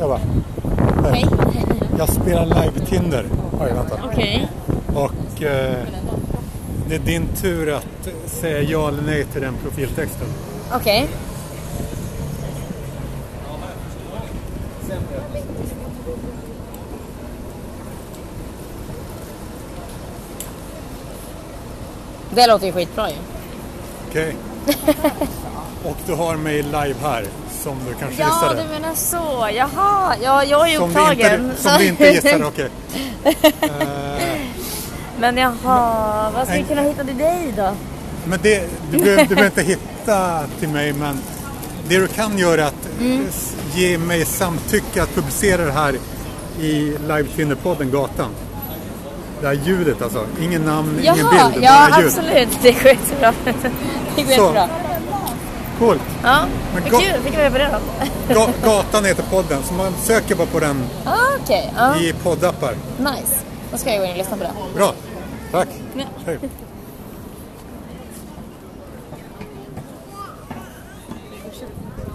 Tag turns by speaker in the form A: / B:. A: Jag bara,
B: Hej.
A: jag spelar live Tinder. Oj, vänta.
B: Okej.
A: Och eh, det är din tur att säga ja eller nej till den profiltexten.
B: Okej. Det låter ju skitbra ju.
A: Okej? Och du har mig live här, som du kanske
B: Ja,
A: gissade.
B: du menar så. Jaha, ja, jag är ju
A: Som du
B: upptagen.
A: inte, som du inte gissade, okej. Eh,
B: Men jaha, vad ska vi kunna hitta till dig då?
A: Men det, du, behöver, du behöver inte hitta till mig, men det du kan göra är att
B: Mm.
A: s- ge mig samtycke att publicera det här i live Tinder-podden Gatan. Det här ljudet alltså. Ingen namn, ingen
B: Jaha,
A: bild,
B: ja
A: bara ljud.
B: absolut. Det går jättebra. Det
A: Så.
B: går jättebra.
A: Coolt.
B: Ja,
A: Men
B: vad
A: gå-
B: kul. Fick du reda på det då?
A: Ga- Gatan heter podden, så man söker bara på den
B: Ah, Okej, ja.
A: i poddappar.
B: nice. Då ska jag gå in och lyssna på det.
A: Bra. Tack.
B: Ja.
A: Hej.